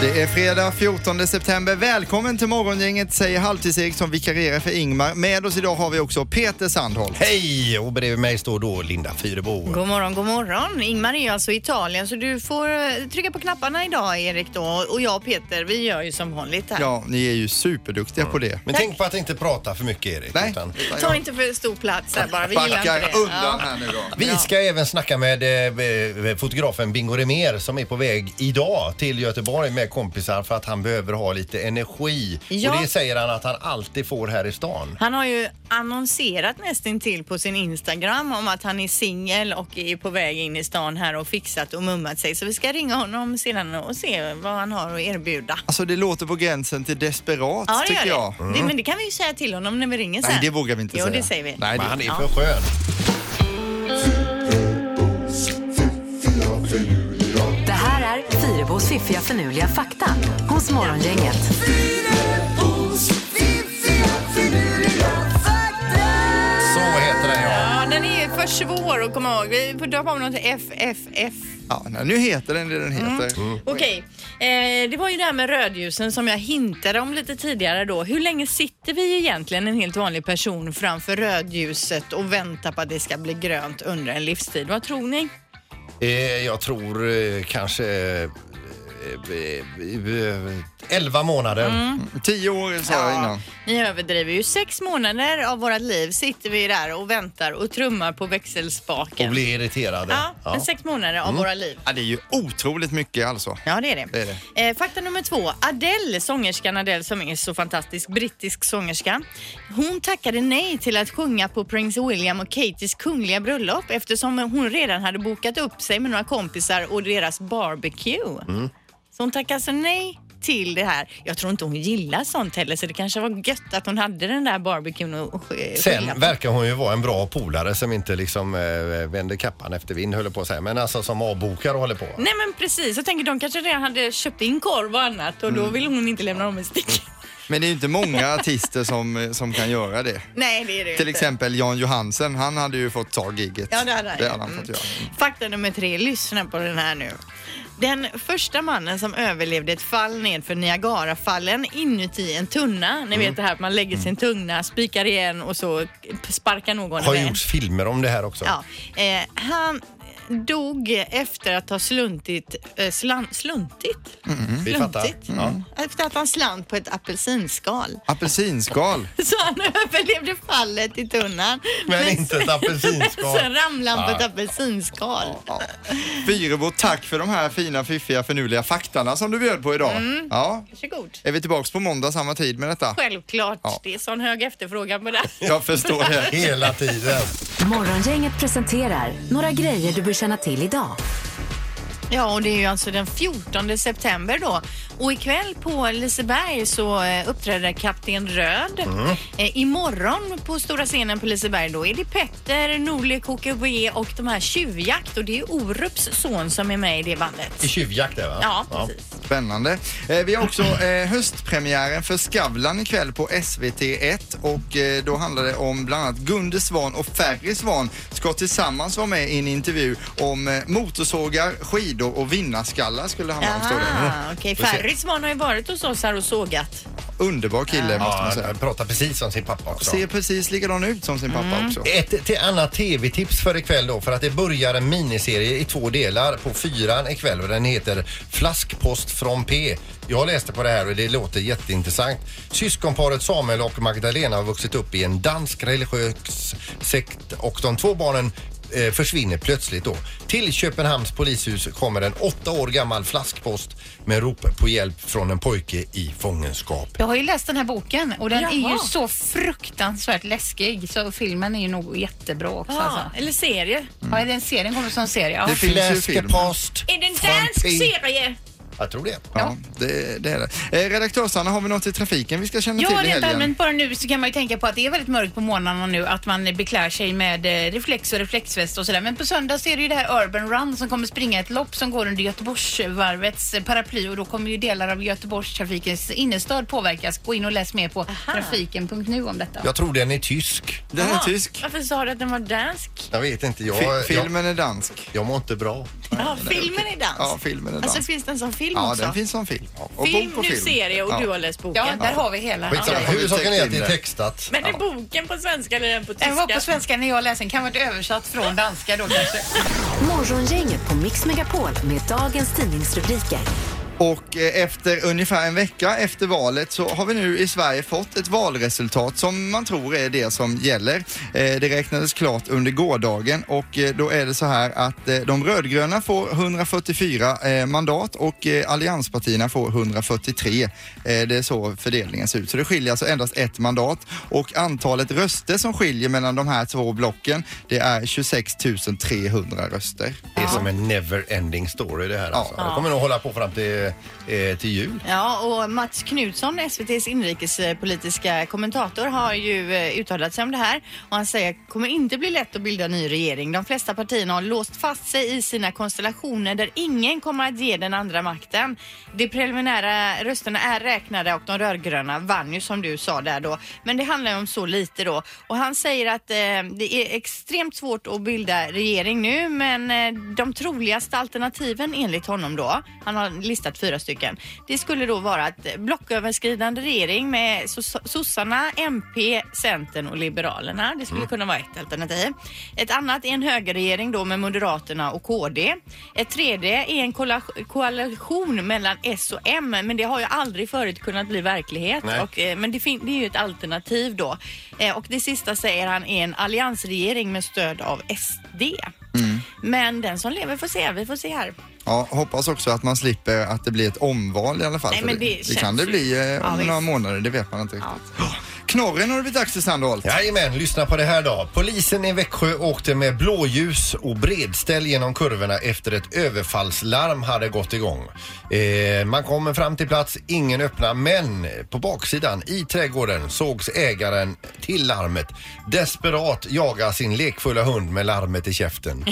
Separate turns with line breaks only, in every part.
Det är fredag 14 september. Välkommen till morgongänget säger Halvtids-Erik som vikarierar för Ingmar. Med oss idag har vi också Peter Sandholt.
Hej! Och bredvid mig står då Linda Fyrebo.
God morgon, god morgon. Ingmar är ju alltså i Italien så du får eh, trycka på knapparna idag Erik då. Och jag och Peter, vi gör ju som vanligt här.
Ja, ni är ju superduktiga på det.
Men tänk på att inte prata för mycket Erik.
Nej.
utan-
Ta inte för stor plats här bara, vi gillar inte det.
Backar undan
Ja.
här nu då.
Vi ska även snacka med eh, eh, fotografen Bingo Remer som är på väg idag till Göteborg med kompisar för att han behöver ha lite energi.
Ja.
Och det säger han att han alltid får här i stan.
Han har ju annonserat nästintill på sin Instagram om att han är singel och är på väg in i stan här och fixat och mummat sig. Så vi ska ringa honom sedan och se vad han har att erbjuda.
Alltså det låter på gränsen till desperat
Ja, det gör
tycker jag.
det. det. Men det kan vi ju säga till honom när vi ringer sen.
Nej, det vågar vi inte
jo,
säga.
Jo, det säger vi.
Men
Nej, det...
han är
Ja.
för skön.
Det här är Fyrabos fiffiga förnuliga fakta hos Morgongänget.
Så heter den ja.
Ja, den är för svår att komma ihåg. Vi får döpa om den till FFF.
Ja, nej, nu heter den det den
Mm.
heter.
Okej, eh, det var ju det här med rödljusen som jag hintade om lite tidigare då. Hur länge sitter vi egentligen en helt vanlig person framför rödljuset och väntar på att det ska bli grönt under en livstid? Vad tror ni?
Eh, jag tror eh, kanske eh, eh, eh, 11 månader.
Mm.
Mm. Tio år sa jag innan.
Ni överdriver ju. Sex månader av vårt liv sitter vi där och väntar och trummar på växelspaken.
Och blir Mm. irriterade.
Ja, men sex månader av våra liv.
Ja, det är ju otroligt mycket alltså.
Ja, det är det.
Det är
Eh, fakta nummer två. Adele, sångerskan Adele som är så fantastisk, brittisk sångerska. Hon tackade nej till att sjunga på Prince William och Katies kungliga bröllop eftersom hon redan hade bokat upp sig med några kompisar och deras barbecue. Så hon tackade alltså nej till det här. Jag tror inte hon gillar sånt heller så det kanske var gött att hon hade den där barbecuen och, och eh,
Sen verkar hon ju vara en bra polare som inte liksom eh, vänder kappan efter vind höll jag på att säga. Men alltså som avbokar och håller på.
Nej men precis, jag tänker de kanske redan hade köpt in korv och annat och då vill hon inte lämna dem i stick.
Men det är ju inte många artister som, eh, som kan göra det.
Nej det är det ju
Till
inte.
exempel Jan Johansen, han hade ju fått ta gigget.
Ja, det hade han, ju.
han fått göra.
Mm. Fakta nummer tre, lyssna på den här nu. Den första mannen som överlevde ett fall nedför Niagarafallen inuti en tunna, ni vet det här att man lägger sin tunna, spikar igen och så sparkar någon
Har
iväg.
gjorts filmer om det här också.
Ja, eh, han dog efter att ha sluntit, eh, slan, sluntit?
Vi fattar.
Sluntit?
Ja.
Efter att han slant på ett apelsinskal.
Apelsinskal.
Så han överlevde fallet i tunnan.
Men inte ett apelsinskal.
Sen ramlade han på ett
Ja.
apelsinskal.
Ja. Fyrebo, tack för de här fina, fiffiga, förnuliga faktarna som du bjöd på idag. Ja.
Varsågod.
Är vi tillbaks på måndag samma tid med detta?
Självklart.
Ja.
Det är sån hög efterfrågan på det.
Jag förstår det.
Hela tiden.
Morgongänget presenterar några grejer du bör känna till idag.
Ja, och det är ju alltså den 14 september då. Och ikväll på Liseberg så eh, uppträder Kapten Röd.
Mm.
Eh, imorgon på stora scenen på Liseberg då är det Petter, Norli, KKV och de här Tjuvjakt. Och det är Orups son som är med i det bandet.
I tjuvjakt det va?
Ja, precis.
Spännande. Eh, vi har också eh, höstpremiären för Skavlan ikväll på SVT1 och eh, då handlar det om bland annat Gunde Svan och Ferry Svan ska tillsammans vara med i en intervju om eh, motorsågar, skidor och vinnarskallar skulle han handla om. står det.
Aha, okej. Ferris man har ju varit hos oss här och sågat.
Underbar kille måste man
Ja,
säga.
han pratar precis som sin pappa också.
Ser precis likadan ut som sin pappa också.
Ett till annat tv-tips för ikväll då för att det börjar en miniserie i två delar på fyran ikväll och den heter Flaskpost från P. Jag läste på det här och det låter jätteintressant. Syskonparet Samuel och Magdalena har vuxit upp i en dansk religiös sekt och de två barnen eh, försvinner plötsligt då. Till Köpenhamns polishus kommer en åtta år gammal flaskpost med rop på hjälp från en pojke i fångenskap.
Jag har ju läst den här boken och den är
Jaha.
ju så fruktansvärt läskig så filmen är ju nog jättebra också.
Ja, Mm.
Alltså.
eller serie.
Ja, den serien kommer som serie. Ja.
Det finns ju film.
Flaskepost
Är det en
från
dansk
P.
serie?
Jag tror det.
Ja, det, det är det. Eh, redaktör Sanna, har vi något i trafiken vi ska känna
Ja,
till i
rent
helgen?
allmänt bara nu så kan man ju tänka på att det är väldigt mörkt på morgnarna nu att man beklär sig med eh, reflex och reflexväst och sådär. Men på söndag så är det ju det här Urban Run som kommer springa ett lopp som går under Göteborgsvarvets eh, paraply och då kommer ju delar av Göteborgstrafikens innerstad påverkas. Gå in och läs mer på trafiken.nu om detta.
Jag tror den är tysk.
Den är
Ja.
tysk.
Varför sa du att den var dansk?
Jag vet inte. Jag,
Fi-
jag,
filmen är dansk.
jag mår inte bra.
Ja, filmen är dans.
Ja, filmen är dans.
Alltså finns den som film
ja,
också?
den finns som film. Och
film,
bok på
nu
film.
serie och
Ja.
du har läst boken.
Ja, där har vi hela.
Skitsamma,
Okej.
huvudsaken är att det
Har
är
vi
textat.
Men är boken på svenska eller är den på tyska?
Den var på svenska när jag läste den. Kan ha varit översatt från danska då kanske.
Morgongänget på Mix Megapol med dagens tidningsrubriker.
Och eh, efter ungefär en vecka efter valet så har vi nu i Sverige fått ett valresultat som man tror är det som gäller. Eh, Det räknades klart under gårdagen och eh, då är det så här att eh, de rödgröna får 144 eh, mandat och eh, allianspartierna får 143. Eh, Det är så fördelningen ser ut. Så det skiljer alltså endast ett mandat och antalet röster som skiljer mellan de här två blocken det är 26 300 röster.
Det är som en never ending story det här alltså. Det kommer nog hålla på fram till, eh, till jul.
Ja, och Mats Knutsson, SVTs inrikespolitiska kommentator, har ju eh, uttalat sig om det här och han säger att det kommer inte bli lätt att bilda en ny regering. De flesta partierna har låst fast sig i sina konstellationer där ingen kommer att ge den andra makten. De preliminära rösterna är räknade och de rödgröna vann ju som du sa där då. Men det handlar ju om så lite då och han säger att eh, det är extremt svårt att bilda regering nu men eh, de troligaste alternativen enligt honom då, han har listat fyra stycken, det skulle då vara att eh, blocköverskridande regering med sos- sossarna, MP, Centern och Liberalerna. Det skulle kunna vara ett alternativ. Ett annat är en högerregering då med Moderaterna och KD. Ett tredje är en koala- koalition mellan S och M men det har ju aldrig förut kunnat bli verklighet.
Nej.
Och, eh, men det, fin- det är ju ett alternativ då. Eh, och det sista säger han är en alliansregering med stöd av SD.
Mm.
Men den som lever får se. Vi får se här.
Ja, hoppas också att man slipper att det blir ett omval i alla fall.
Nej,
för
men det
det
känns
kan det
ju-
bli eh,
Ja,
om
visst.
några månader, det vet man inte riktigt. Ja. Knorren har det blivit dags för Sandholt.
Jajamän, lyssna på det här då. Polisen i Växjö åkte med blåljus och bredställ genom kurvorna efter ett överfallslarm hade gått igång. Eh, man kommer fram till plats, ingen öppnar, men på baksidan i trädgården sågs ägaren till larmet desperat jaga sin lekfulla hund med larmet i käften.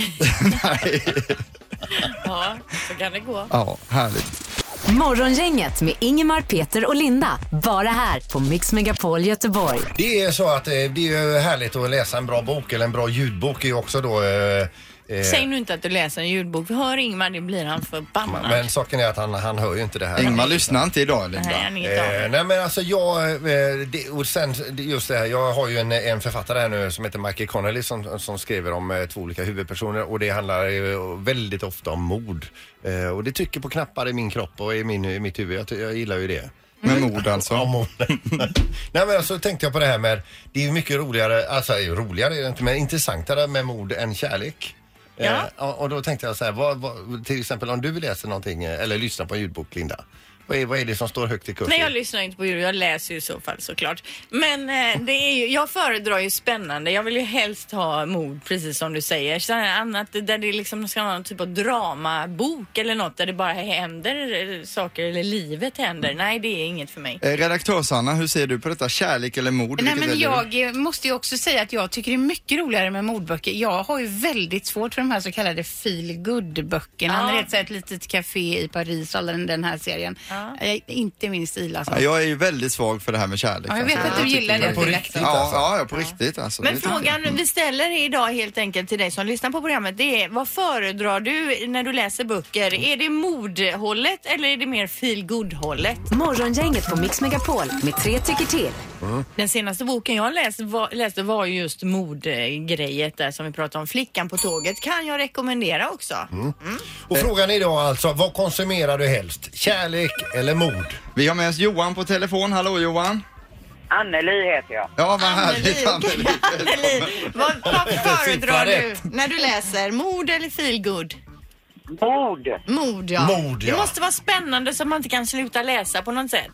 Ja, så kan det gå.
Ja, härligt.
Morgongänget med Ingemar, Peter och Linda. Bara här på Mix Megapol Göteborg.
Det är så att eh, det är ju härligt att läsa en bra bok eller en bra ljudbok är ju också då eh, eh,
Säg nu inte att du läser en ljudbok. Vi hör Ingmar, det blir han förbannad.
men saken är att han, han hör ju inte det här.
Ingmar lyssnar inte idag, Linda.
Nej, han är inte av.
Eh, nej men alltså jag, eh, det, och sen det- just det här, jag har ju en, en författare här nu som heter Michael Connelly som, som skriver om eh, två olika huvudpersoner och det handlar ju väldigt ofta om mord. Eh, och det trycker på knappar i min kropp och i, min, i mitt huvud, jag, ty- jag gillar ju det.
Med mord alltså.
Om morden. Nej men alltså tänkte jag på det här med, det är ju mycket roligare, alltså roligare är det inte men intressantare med mord än kärlek.
Ja.
Eh, och, och då tänkte jag så här, vad, vad, till exempel om du läser någonting eh, eller lyssnar på en ljudbok Linda, vad är, vad är det som står högt i kurs?
Nej, jag lyssnar inte på ljud. Jag läser ju i så fall såklart. Men eh, det är ju, jag föredrar ju spännande. Jag vill ju helst ha mord, precis som du säger. Sen är det annat där det liksom ska vara någon typ av dramabok eller något där det bara händer eh, saker eller livet händer.
Mm.
Nej, det är inget för mig.
Eh, Redaktör Sanna, hur ser du på detta? Kärlek eller mord?
Nej,
Vilket
men
väljer du?
jag eh, måste ju också säga att jag tycker det är mycket roligare med mordböcker. Jag har ju väldigt svårt för de här så kallade feel good böckerna
Ja.
När det är så här ett litet café i Paris och den, den här serien. Eh, Inte min stil alltså.
Ja,
jag,
jag är ju väldigt svag för det här med kärlek.
jag vet
alltså.
att du
tycker
gillar
det
det.
är-
på
Felix.
riktigt.
Ja,
alltså.
ja, ja, på riktigt alltså.
Men
Det tycker jag.
frågan vi ställer idag helt enkelt till dig som lyssnar på programmet det är vad föredrar du när du läser böcker? Är det mordhållet eller är det mer feel good hållet
Morgongänget på Mix Megapol med tre tycker till.
Den senaste boken jag läste var, läste var ju just mordgrejet där som vi pratade om. Flickan på tåget kan jag rekommendera också.
Och frågan är då alltså, vad konsumerar du helst? Kärlek eller mord?
Vi har med oss Johan på telefon. Hallå Johan!
Anneli heter jag.
Ja, vad
Anneli,
härligt
okej,
Anneli.
Anneli, vad, vad föredrar du
rätt.
när du läser? Mord eller feel good?
Mord!
Mord ja.
Mord, ja.
Det måste vara spännande så man inte kan sluta läsa på något sätt.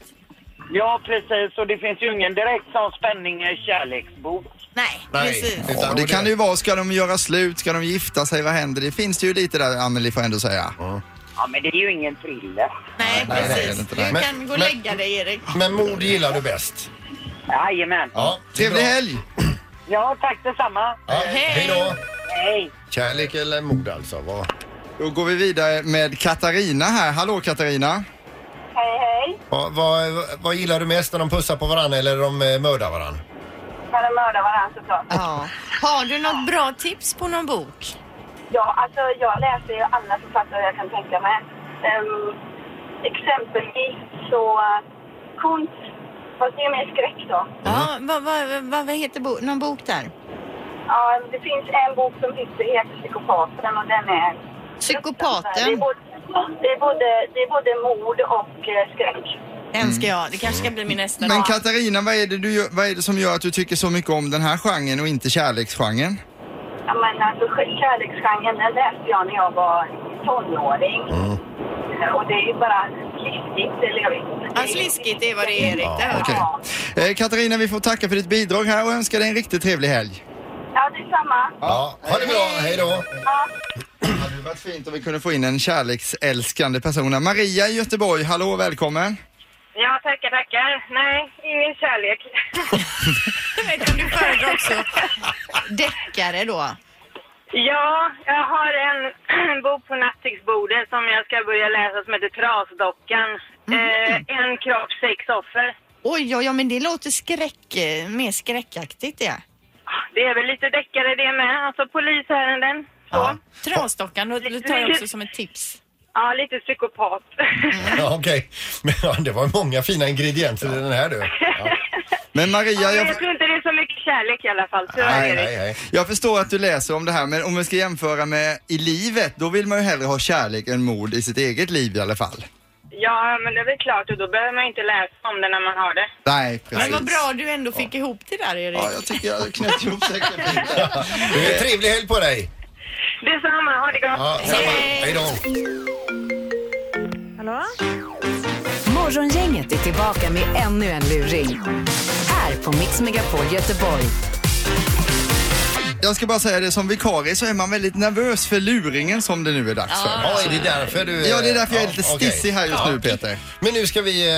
Ja, precis. Och det finns ju ingen direkt sån spänning i en kärleksbok.
Nej,
Nej.
precis.
Ja, det kan det ju vara. Ska de göra slut? Ska de gifta sig? Vad händer? Det finns det ju lite där, Anneli får jag ändå säga.
Ja, men det är ju ingen thriller.
Nej,
nej, det är
precis.
det inte.
Du
Men-
kan gå
men-
och lägga dig Erik.
Men mord gillar du bäst?
Jajamän.
Ja. det är
Trevlig
bra.
helg!
Ja, tack detsamma.
Ja, hej då!
Hej!
Kärlek eller mord alltså? Vad?
Då går vi vidare med Katarina här. Hallå Katarina!
Hej, hej!
Vad, vad, vad gillar du mest när de pussar på varandra eller de eh, mördar varandra?
Kan de mörda varandra såklart?
Ja. Har du något bra tips på någon bok?
Ja, alltså jag läser ju alla författare jag kan tänka mig. Ehm, exempelvis så eh, konst, fast det är mer skräck då.
Ja, vad, vad, vad, vad heter bo någon bok där?
Ja, det finns en bok som heter, heter Psykopaten och den är... Det är
Psykopaten.
både, det är både, det är både mord och eh, skräck.
Den ska jag. Det kanske ska bli min nästa.
Men Katarina, vad är, det du, gör- vad är det som gör att du tycker så mycket om den här genren och inte kärleksgenren?
Ja, men alltså sk- kärleksgenren, den läste jag när jag var tonåring. Eh, Och det är ju bara sliskigt, eller jag vet inte.
Ja, sliskigt är vad det är, Erik. Där hör
Okej. Eh, Katarina, vi får tacka för ditt bidrag här och önska dig en riktigt trevlig helg.
Ja, detsamma.
Ja, ha det bra, hej då!
Det hade varit fint om vi kunde få in en kärleksälskande person. här. Maria i Göteborg, hallå och välkommen.
Ja, tackar, tackar. Nej, ingen kärlek.
du föredrar också deckare då.
Ja, jag har en bok på nattduksbordet som jag ska börja läsa som heter Trasdockan. Eh, en kropp, sex offer.
Oj, ja, ja, men det låter skräck, eh, mer skräckaktigt det.
Ah, Det är väl lite deckare det med, alltså polisärenden. Så. Ja.
Trasdockan, då, då tar jag också som ett tips.
lite psykopat.
Ja, Okej, men ja, det var många fina ingredienser i den här du. Ja.
Men Maria,
Ja,
jag,
men jag tror inte det är så mycket kärlek i alla fall. Tyvärr,
Nej,
Erik.
nej, nej.
jag förstår att du läser om det här, men om vi ska jämföra med i livet, då vill man ju hellre ha kärlek än mod i sitt eget liv i alla fall.
Ja, men det är väl klart och då behöver man inte läsa om det när man har det.
Nej, precis.
Men vad bra du ändå fick ihop det där, Erik.
Ja, jag tycker jag knöt ihop säcken lite.
Du, en trevlig helg på dig!
Detsamma, ha det gott.
Ja, hej. hej då!
Morgongänget är tillbaka med ännu en luring. Här på Mix Megapol Göteborg.
Jag ska bara säga det, som vikarie så är man väldigt nervös för luringen som det nu är dags för.
Ja, är det därför du...
Ja, det är därför jag är lite
okej.
stissig här just nu, Peter.
Men nu ska vi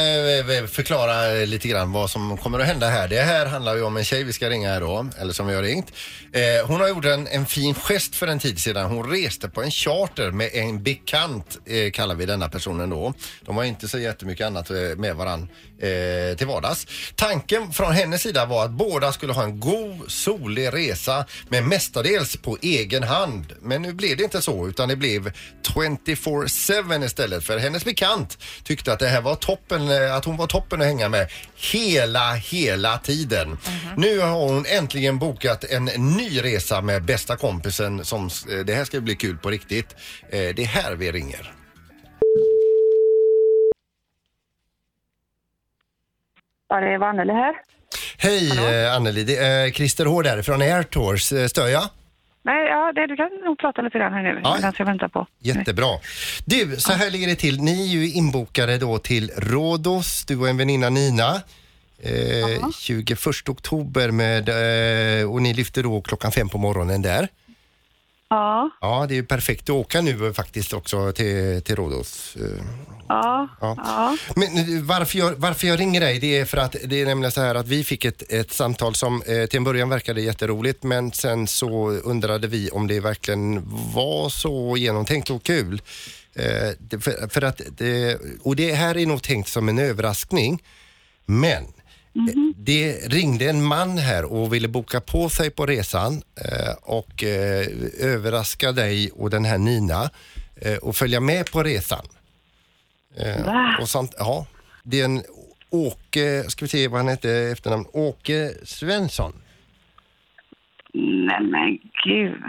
eh, förklara lite grann vad som kommer att hända här. Det här handlar ju om en tjej vi ska ringa här då, eller som vi har ringt. Eh, hon har gjort en, en fin gest för en tid sedan. Hon reste på en charter med en bekant, eh, kallar vi denna personen då. De har inte så jättemycket annat eh, med varann eh, till vardags. Tanken från hennes sida var att båda skulle ha en god, solig resa men mestadels på egen hand. Men nu blev det inte så utan det blev 24-7 istället för hennes bekant tyckte att det här var toppen, eh, att hon var toppen att hänga med hela, hela tiden. Nu har hon äntligen bokat en ny resa med bästa kompisen som, s- eh, det här ska bli kul på riktigt. Eh, Det är här vi ringer.
Ja, det är Vanelle här.
Hej eh, Anneli, det är Christer Hård här från Air Tours. Eh, Stör jag?
Nej, ja, det, du kan nog prata lite grann här nu
Ja.
medan jag väntar på.
Jättebra. Du, så här ligger det till. Ni är ju inbokade då till Rhodos, du och en väninna Nina. Eh, 21 oktober med, eh, och ni lyfter då klockan fem på morgonen där.
Ja,
Ja, det är ju perfekt att åka nu eh, faktiskt också till, till Rhodos. Eh,
ja,
Ja.
ja.
Men eh, varför jag, varför jag ringer dig, det är för att det är nämligen så här att vi fick ett, ett samtal som eh, till en början verkade jätteroligt men sen så undrade vi om det verkligen var så genomtänkt och kul. Eh, det, för, för att det, och det här är nog tänkt som en överraskning. Men eh, det ringde en man här och ville boka på sig på resan eh, och eh, överraska dig och den här Nina eh, och följa med på resan. Eh,
Ah.
och sant, ja, det är en Åke, ska vi se vad han hette i efternamn, Åke Svensson.
Nej, men gud.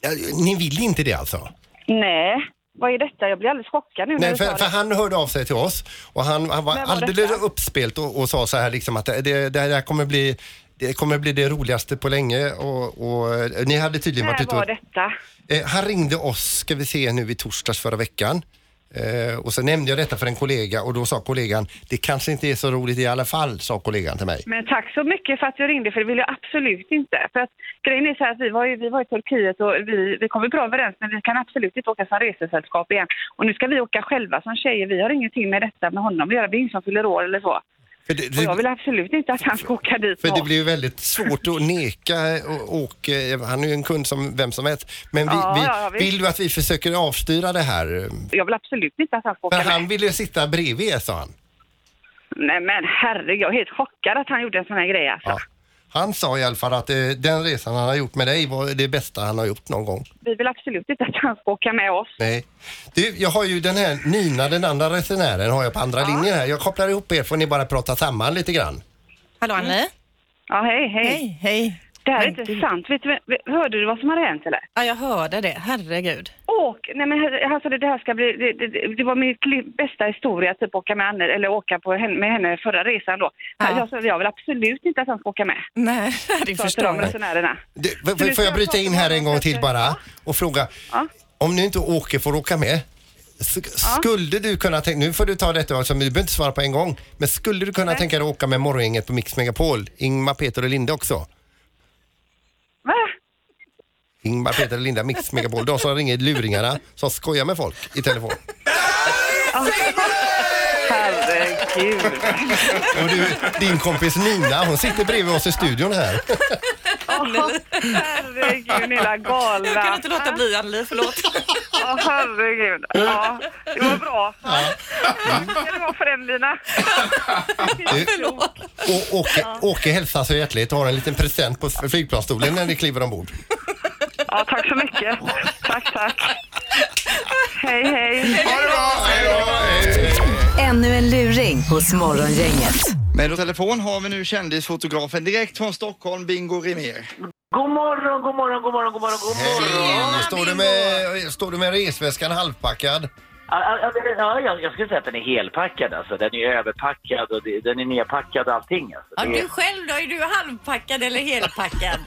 Ja, ni vill inte det alltså?
Nej, vad är detta? Jag blir alldeles chockad nu när
Nej,
du
för,
sa
för
det.
han hörde av sig till oss och han, han var
Men var det
alldeles
sant?
uppspelt och, och sa så här liksom att det, det, det här kommer bli det kommer bli det roligaste på länge och, och eh, ni hade tydligen varit
När
ute
var
och,
detta?
Eh, Han ringde oss, ska vi se nu i torsdags förra veckan. Eh, och så nämnde jag detta för en kollega och då sa kollegan, det kanske inte är så roligt i alla fall, sa kollegan till mig.
Men tack så mycket för att du ringde, för det vill jag absolut inte. För att grejen är så här att vi var, ju, vi var i Turkiet och vi, vi kom ju bra överens, men vi kan absolut inte åka som resesällskap igen. Och nu ska vi åka själva som tjejer. Vi har ingenting med detta med honom att göra. Det är ingen som fyller år eller så.
För det,
Och jag vill
det,
absolut inte att han ska åka dit.
för det
med
blir ju väldigt svårt att neka och, och eh, han är ju en kund som vem som helst. Men vi,
Ja,
vi,
ja, visst.
vill du att vi försöker avstyra det här?
oss. Jag vill absolut inte att han ska åka
För
med.
han ville sitta bredvid er, sa han.
Nej men herregud, jag är helt chockad att han gjorde en sån här grej alltså.
Ja. Han sa i alla fall att eh, den resan han har gjort med dig var det bästa han har gjort någon gång.
Vi vill absolut inte att han ska åka med oss.
Nej. Du, jag har ju den här Nina, den andra resenären, har jag på andra linjen här. Jag kopplar ihop er får ni bara prata samman lite grann.
Hallå Anneli?
Ja, hej, hej.
Hej, hej.
Det här är inte sant. Vet du, hörde du vad som hade hänt eller?
Ja, jag hörde det. Herregud.
Åk! Nej men herre- alltså det det här ska bli, det, det- det, det var min li- bästa historia typ åka med henne, eller åka på henne, med henne förra resan då.
Ja.
Jag, sa, jag vill absolut inte att han ska åka med.
Nej, det
Sa till
förstår
de
jag.
resenärerna.
Du, f- f-
nu
får
ska
jag
jag
bryta
prata
in
med
här en
honom
gång
kanske.
till bara och fråga.
Ja.
Om nu inte Åke får åka med, s- skulle du kunna tänka, nu får du ta detta, alltså, du behöver inte svara på en gång, men skulle du kunna tänka dig att åka med Morgongänget på Mix Megapol, Ingmar, Peter och Linda också?
Va?
Ingmar, Peter och Linda, Mix Megapol, de som ringer luringarna, som skojar med folk i telefon.
Herregud.
Och du, din kompis Nina, hon sitter bredvid oss i studion här.
Herregud, ni är galna.
Jag kan inte låta bli Anneli, förlåt.
Ja, herregud. Ja, det var bra. Tack ska du ha för den Lina.
Och Åke, Åke hälsar så hjärtligt och har en liten present på flygplansstolen när ni kliver ombord.
Ja, tack så mycket. Tack, tack. Hej, hej.
Ha det bra! Hej då!
Ännu en luring hos Morgongänget.
Med på telefon har vi nu kändisfotografen direkt från Stockholm, Bingo Rimér.
God morgon, god morgon, god morgon, god morgon, god morgon.
Hej! Står du med, står du med resväskan halvpackad?
Ja, ja, ja, ja, jag, jag skulle säga att den är helpackad alltså. Den är överpackad och det, den är nerpackad och allting alltså.
Ja,
Det är-
du själv då? Är du halvpackad eller helpackad?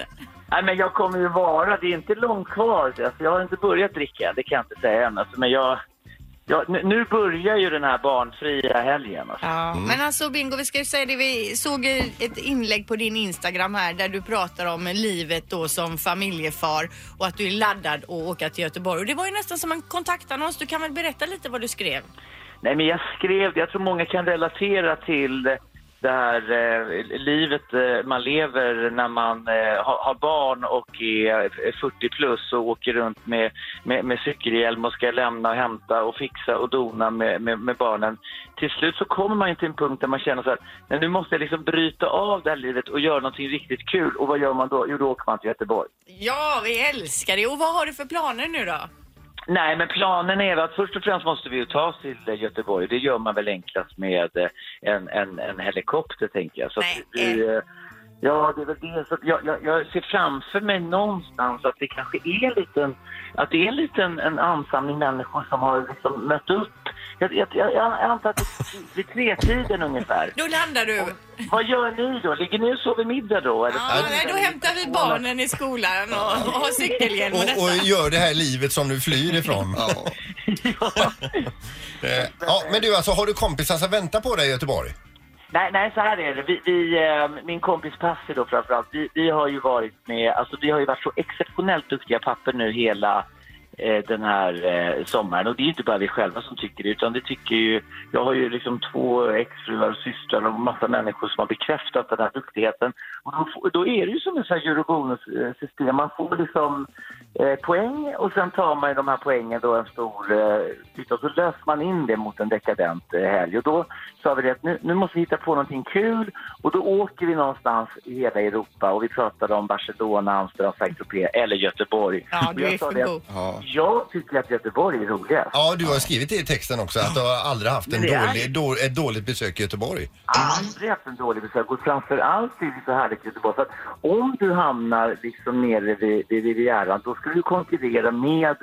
Nej, men jag kommer ju vara, det är inte långt kvar. Alltså, jag har inte börjat dricka, det kan jag inte säga än. Alltså, men jag, jag, nu- nu börjar ju den här barnfria helgen. Alltså.
Ja, men alltså Bingo, vi ska ju säga det. Vi såg ju ett inlägg på din Instagram här där du pratar om livet då som familjefar och att du är laddad att åka till Göteborg. Och det var ju nästan som en kontaktannons. Du kan väl berätta lite vad du skrev?
Nej, men jag skrev det. Jag tror många kan relatera till det här eh, livet eh, man lever när man eh, har, har barn och är 40 plus och åker runt med, med, med cykelhjälm och ska lämna och hämta och fixa och dona med, med, med barnen. Till slut så kommer man ju till en punkt där man känner så här, "Nej, nu måste jag liksom bryta av det här livet och göra någonting riktigt kul. Och vad gör man då? Jo, då åker man till Göteborg.
Ja, vi älskar det. Och vad har du för planer nu då?
Nej, men planen är att först och främst måste vi ju ta oss till eh, Göteborg. Det gör man väl enklast med eh, en, en, en helikopter, tänker jag. Så att
Nej.
vi, eh, ja, det är väl det. Så att jag, jag, jag ser framför mig någonstans att det kanske är en liten, att det är en, liten, en ansamling människor som har liksom mött upp. Jag, jag, jag, jag antar att det är vid tretiden ungefär.
Då landar du.
Vad gör ni då? Ligger ni och sover middag då? Eller?
Ja, nej, då hämtar vi barnen i skolan och, och har cykelhjälm och
Och, och
detta.
gör det här livet som du flyr ifrån.
Ja.
Eh, Ja, men du alltså, har du kompisar som väntar på dig i Göteborg?
Nej, nej, så här är det. Vi, vi, eh, min kompis Passi då framförallt, vi, vi har ju varit med, alltså vi har ju varit så exceptionellt duktiga papper nu hela eh, den här eh, sommaren. Och det är ju inte bara vi själva som tycker det, utan det tycker ju, jag har ju liksom två exfruar och systrar och massa människor som har bekräftat den här duktigheten. Och då, får- då är det ju som ett sånt här eurobonussystem, man får liksom eh, poäng och sen tar man ju de här poängen då en stor eh, titt och så löser man in det mot en dekadent eh, helg. Och då sa vi det att nu, nu måste vi hitta på någonting kul och då åker vi någonstans i hela Europa och vi pratade om Barcelona, Amsterdam, Saint-Tropez eller Göteborg.
Ja,
Och
du
jag
är
sa
för
det att
god.
Ja.
jag tycker att Göteborg är roligast.
Ja, du har skrivit det i texten också att du har aldrig haft en
Men det är-
dålig, då, ett dåligt besök i Göteborg.
aldrig haft en dålig besök och framförallt är det så härligt i Göteborg. För att om du hamnar liksom nere vid, vid Rivieran då ska du konkurrera med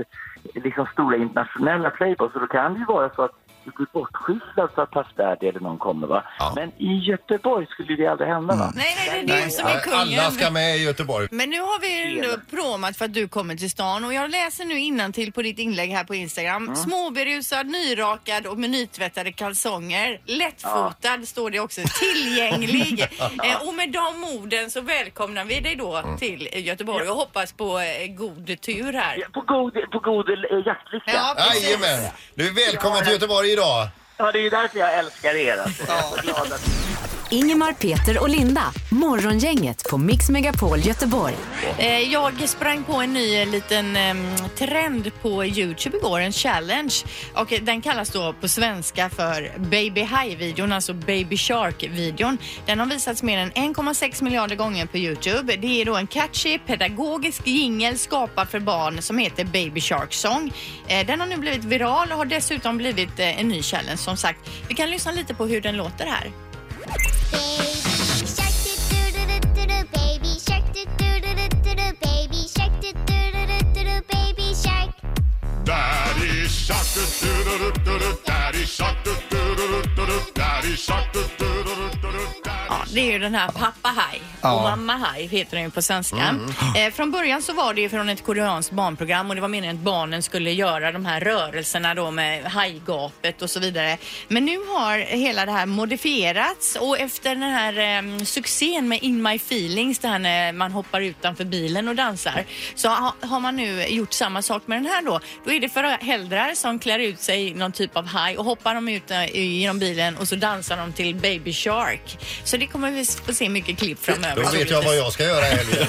liksom stora internationella playboys och då kan det ju vara så att du blir bortskyfflad för att Pasvärde eller någon kommer va.
Ja.
Men i Göteborg skulle det aldrig hända va.
Nej, nej, det är du som är
Alla
kungen.
ska med i Göteborg.
Men nu har vi ju ändå promat för att du kommer till stan och jag läser nu innan till på ditt inlägg här på Instagram. Småberusad, nyrakad och med nytvättade kalsonger. Lättfotad står det också. Tillgänglig. eh, och med de orden så välkomnar vi dig då till Göteborg och hoppas på eh, god tur här.
På god, på god eh, jaktlycka.
Ja, precis.
Jajamän! Du är välkommen till Göteborg idag.
Ja, det är ju därför jag älskar er. Alltså. Jag är så glad att
Ingemar, Peter och Linda. Morgongänget på Mix Megapol Göteborg.
Eh, Jag sprang på en ny eh, liten ehm, trend på Youtube igår, en challenge. Och eh, den kallas då på svenska för Baby High-videon, alltså Baby Shark-videon. Den har visats mer än 1,6 miljarder gånger på Youtube. Det är då en catchy pedagogisk jingel skapad för barn som heter Baby Shark Song. Eh, Den har nu blivit viral och har dessutom blivit eh, en ny challenge som sagt. Vi kan lyssna lite på hur den låter här. Ja, det är ju den här Pappa High
Ja.
och Mamma High heter den ju på svenska. Eh, från början så var det ju från ett koreanskt barnprogram och det var meningen att barnen skulle göra de här rörelserna då med hajgapet och så vidare. Men nu har hela det här modifierats och efter den här eh, succén med In My Feelings där när man hoppar utanför bilen och dansar så ha, har man nu gjort samma sak med den här då. Då är det föräldrar som klär ut sig i någon typ av haj och hoppar de ut eh, genom bilen och så dansar de till Baby Shark. Så det kommer vi s- få se mycket klipp framöver.
Då vet jag vad jag ska göra i helgen.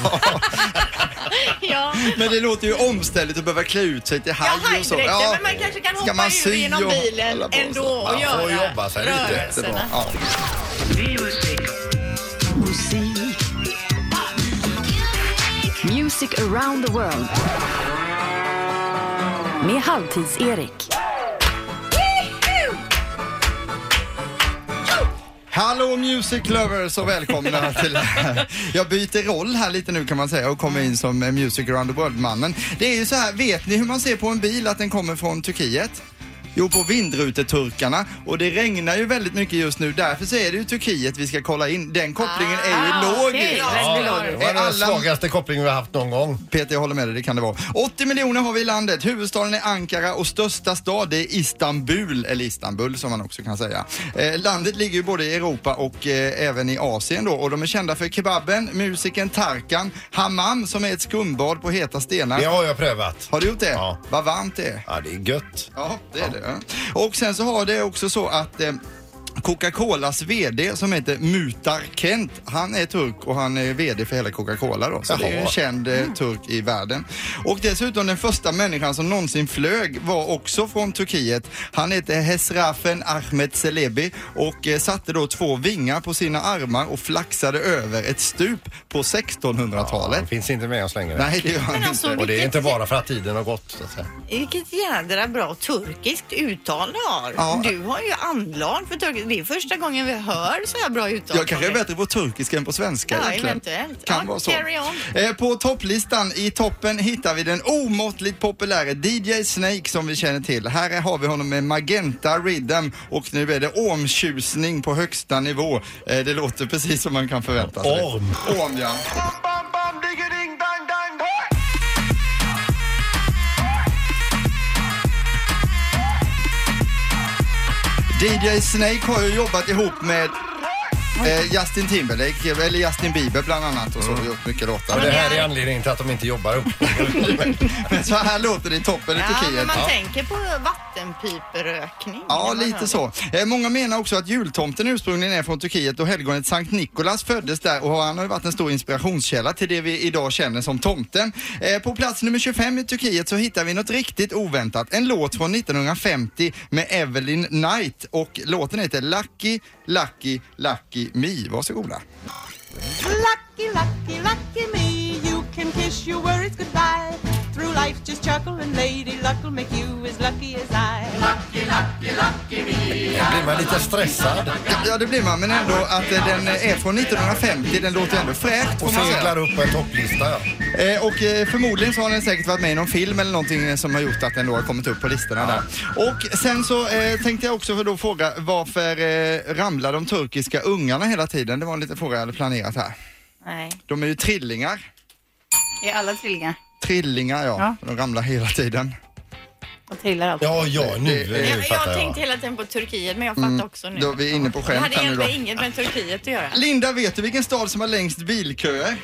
Ja.
Men det låter ju omständigt att behöva klä ut sig till
Ja,
haj och så.
hajdräkten, men man kanske kan
Ska
hoppa
man
ur
sy
genom
och
bilen
hålla på och så?
ändå och
Man får
göra
jobba sig lite.
Jättebra.
rörelserna.
Ja.
Music around the world. Med Halvtids-Erik.
Hallå music lovers och välkomna till det här. Jag byter roll här lite nu kan man säga och kommer in som eh, music around the world-mannen. Det är ju så här, vet ni hur man ser på en bil att den kommer från Turkiet? Jo, på vindruteturkarna. Och det regnar ju väldigt mycket just nu. Därför så är det ju Turkiet vi ska kolla in. Den kopplingen är ju logisk.
Ja, det var den
Alla-
svagaste kopplingen vi har haft någon gång.
Peter, jag håller med dig, det kan det vara. 80 miljoner har vi i landet. Huvudstaden är Ankara och största stad är Istanbul, eller Istanbul som man också kan säga. Eh, landet ligger ju både i Europa och eh, även i Asien då och de är kända för kebaben, musiken Tarkan, hammam som är ett skumbad på heta stenar.
Det har jag prövat.
Har du gjort det?
Ja.
Vad varmt det är.
Ja, det är gött.
Ja, det är det. ja. Och sen så har det också så att eh, Coca-Colas VD som heter Mutar Kent, han är turk och han är VD för hela Coca-Cola då. Så det är ju en
Jaha.
känd eh, turk i världen. Och dessutom den första människan som någonsin flög var också från Turkiet. Han heter Hesrafen Ahmet Selebi och eh, satte då två vingar på sina armar och flaxade över ett stup på
Ja,
1600-talet.
det finns inte med oss längre.
Nej, det gör han inte.
alltså,
Och det är
vilket,
inte bara för att tiden har gått. Så att säga.
vilket jädra bra turkiskt uttal du har.
Ja.
Du har ju anlag för turkiskt. Det är första gången vi hör så här bra uttal.
Jag kanske är
från dig.
bättre på turkiska än på svenska.
Ja,
egentligen.
eventuellt.
Kan
Ja,
vara så.
carry on.
Eh, På topplistan i toppen hittar vi den omåttligt populära DJ Snake som vi känner till. Här är- har vi honom med Magenta Rhythm och nu är det ormtjusning på högsta nivå. Eh, Det låter precis som man kan förvänta sig.
Orm.
Orm, ja. DJ Snake har ju jobbat ihop med eh, Justin Timberlake, eller Justin Bieber bland annat och så. har Gjort mycket låtar.
Och det här är anledningen till att de inte jobbar upp.
Men så här låter det i toppen i
Ja,
Turkiet.
men man tänker på vattenpiperökning.
Ja,
när man hör
lite
det.
så. Eh, många menar också att jultomten ursprungligen är från Turkiet och helgonet Sankt Nikolas föddes där och han har ju varit en stor inspirationskälla till det vi idag känner som tomten. Eh, på plats nummer 25 i Turkiet så hittar vi något riktigt oväntat. En låt från 1950 med Evelyn Knight och låten heter Lucky, Lucky, Lucky Me. Varsågoda.
Lucky, lucky, lucky me, you can kiss your worries goodbye. Through life, just chuckle and lady luck will make you as lucky as I.
Blir man lite stressad
Ja, det blir man, men ändå att eh, den är från 1950. Den låter ändå fräscht.
och
får man säga.
seglar upp på en topplista. Ja.
Eh, och eh, förmodligen så har den säkert varit med i någon film eller någonting eh, som har gjort att den då har kommit upp på listorna där. Och sen så eh, tänkte jag också för då fråga varför eh, ramlar de turkiska ungarna hela tiden? Det var en liten fråga jag hade planerat här.
Nej.
De är ju trillingar.
Är alla trillingar?
Trillingar ja, de ramlar hela tiden.
Och trillar allt.
Ja, ja, nu,
Ja,
nu
men
fattar
jag
jag.
tänkte hela tiden på Turkiet, men jag fattar också nu.
Då är vi inne på
Det
skämt
hade
här nu då.
egentligen inget med Turkiet att göra.
Linda, vet du vilken stad som har längst bilköer?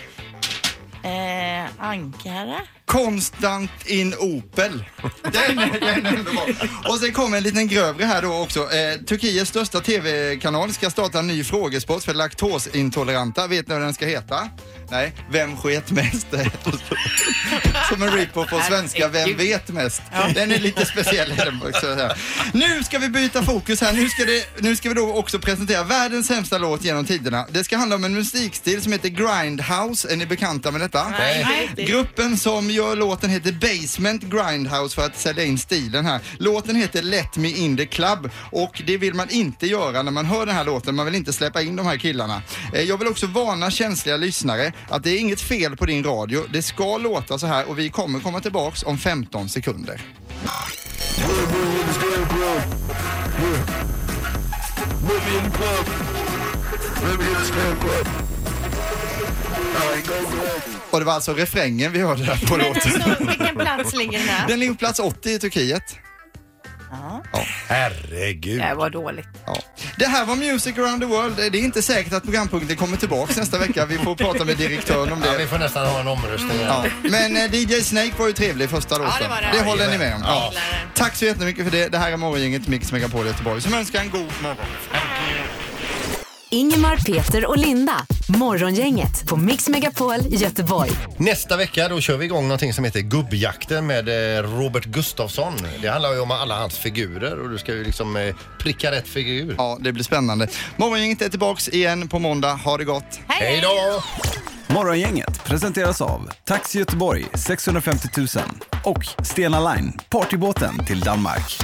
Eh, Ankara?
Konstant in Opel. Den, är- den är underbar. Och sen kommer en liten grövre här då också. Eh, Turkiets största TV-kanal ska starta en ny frågesport för laktosintoleranta. Vet ni vad den ska heta? Nej, Vem sket mest? Som en rip-off på svenska, Vem vet mest? Den är lite speciell. är den också här. Nu ska vi byta fokus här. Nu ska, det, nu ska vi då också presentera världens sämsta låt genom tiderna. Det ska handla om en musikstil som heter Grindhouse. Är ni bekanta med detta?
Nej.
Gruppen som gör låten heter Basement Grindhouse för att sälja in stilen här. Låten heter Let Me In The Club och det vill man inte göra när man hör den här låten. Man vill inte släppa in de här killarna. Eh, Jag vill också varna känsliga lyssnare att det är inget fel på din radio. Det ska låta så här och vi kommer komma tillbaks om 15 sekunder. Och det var alltså refrängen vi hörde här på
Men
låten.
alltså, vilken plats ligger den här?
Den ligger på plats 80 i Turkiet.
Herregud.
Det här var dåligt.
Ja. Det här var Music around the world. Det är inte säkert att programpunkten kommer tillbaks nästa vecka. Vi får prata med direktören om
Ja,
det.
vi får nästan ha en omröstning.
Ja. Men eh, DJ Snake var ju trevlig i första låten.
det var det.
håller ni med om. Ja.
gillar det.
Tack så jättemycket för det. Det här är Morgongänget Mix Megapol Göteborg som önskar en god morgon.
Ingemar, Peter och Linda. Morgongänget på Mix Megapol Göteborg.
Nästa vecka då kör vi igång någonting som heter Gubbjakten med eh, Robert Gustafsson. Det handlar ju om alla hans figurer och du ska ju liksom eh, pricka rätt figur.
Ja, det blir spännande. Morgongänget är tillbaks igen på måndag. Ha det gott.
Hej då!
Morgongänget presenteras av Taxi Göteborg 650 000 och Stena Line, partybåten till Danmark.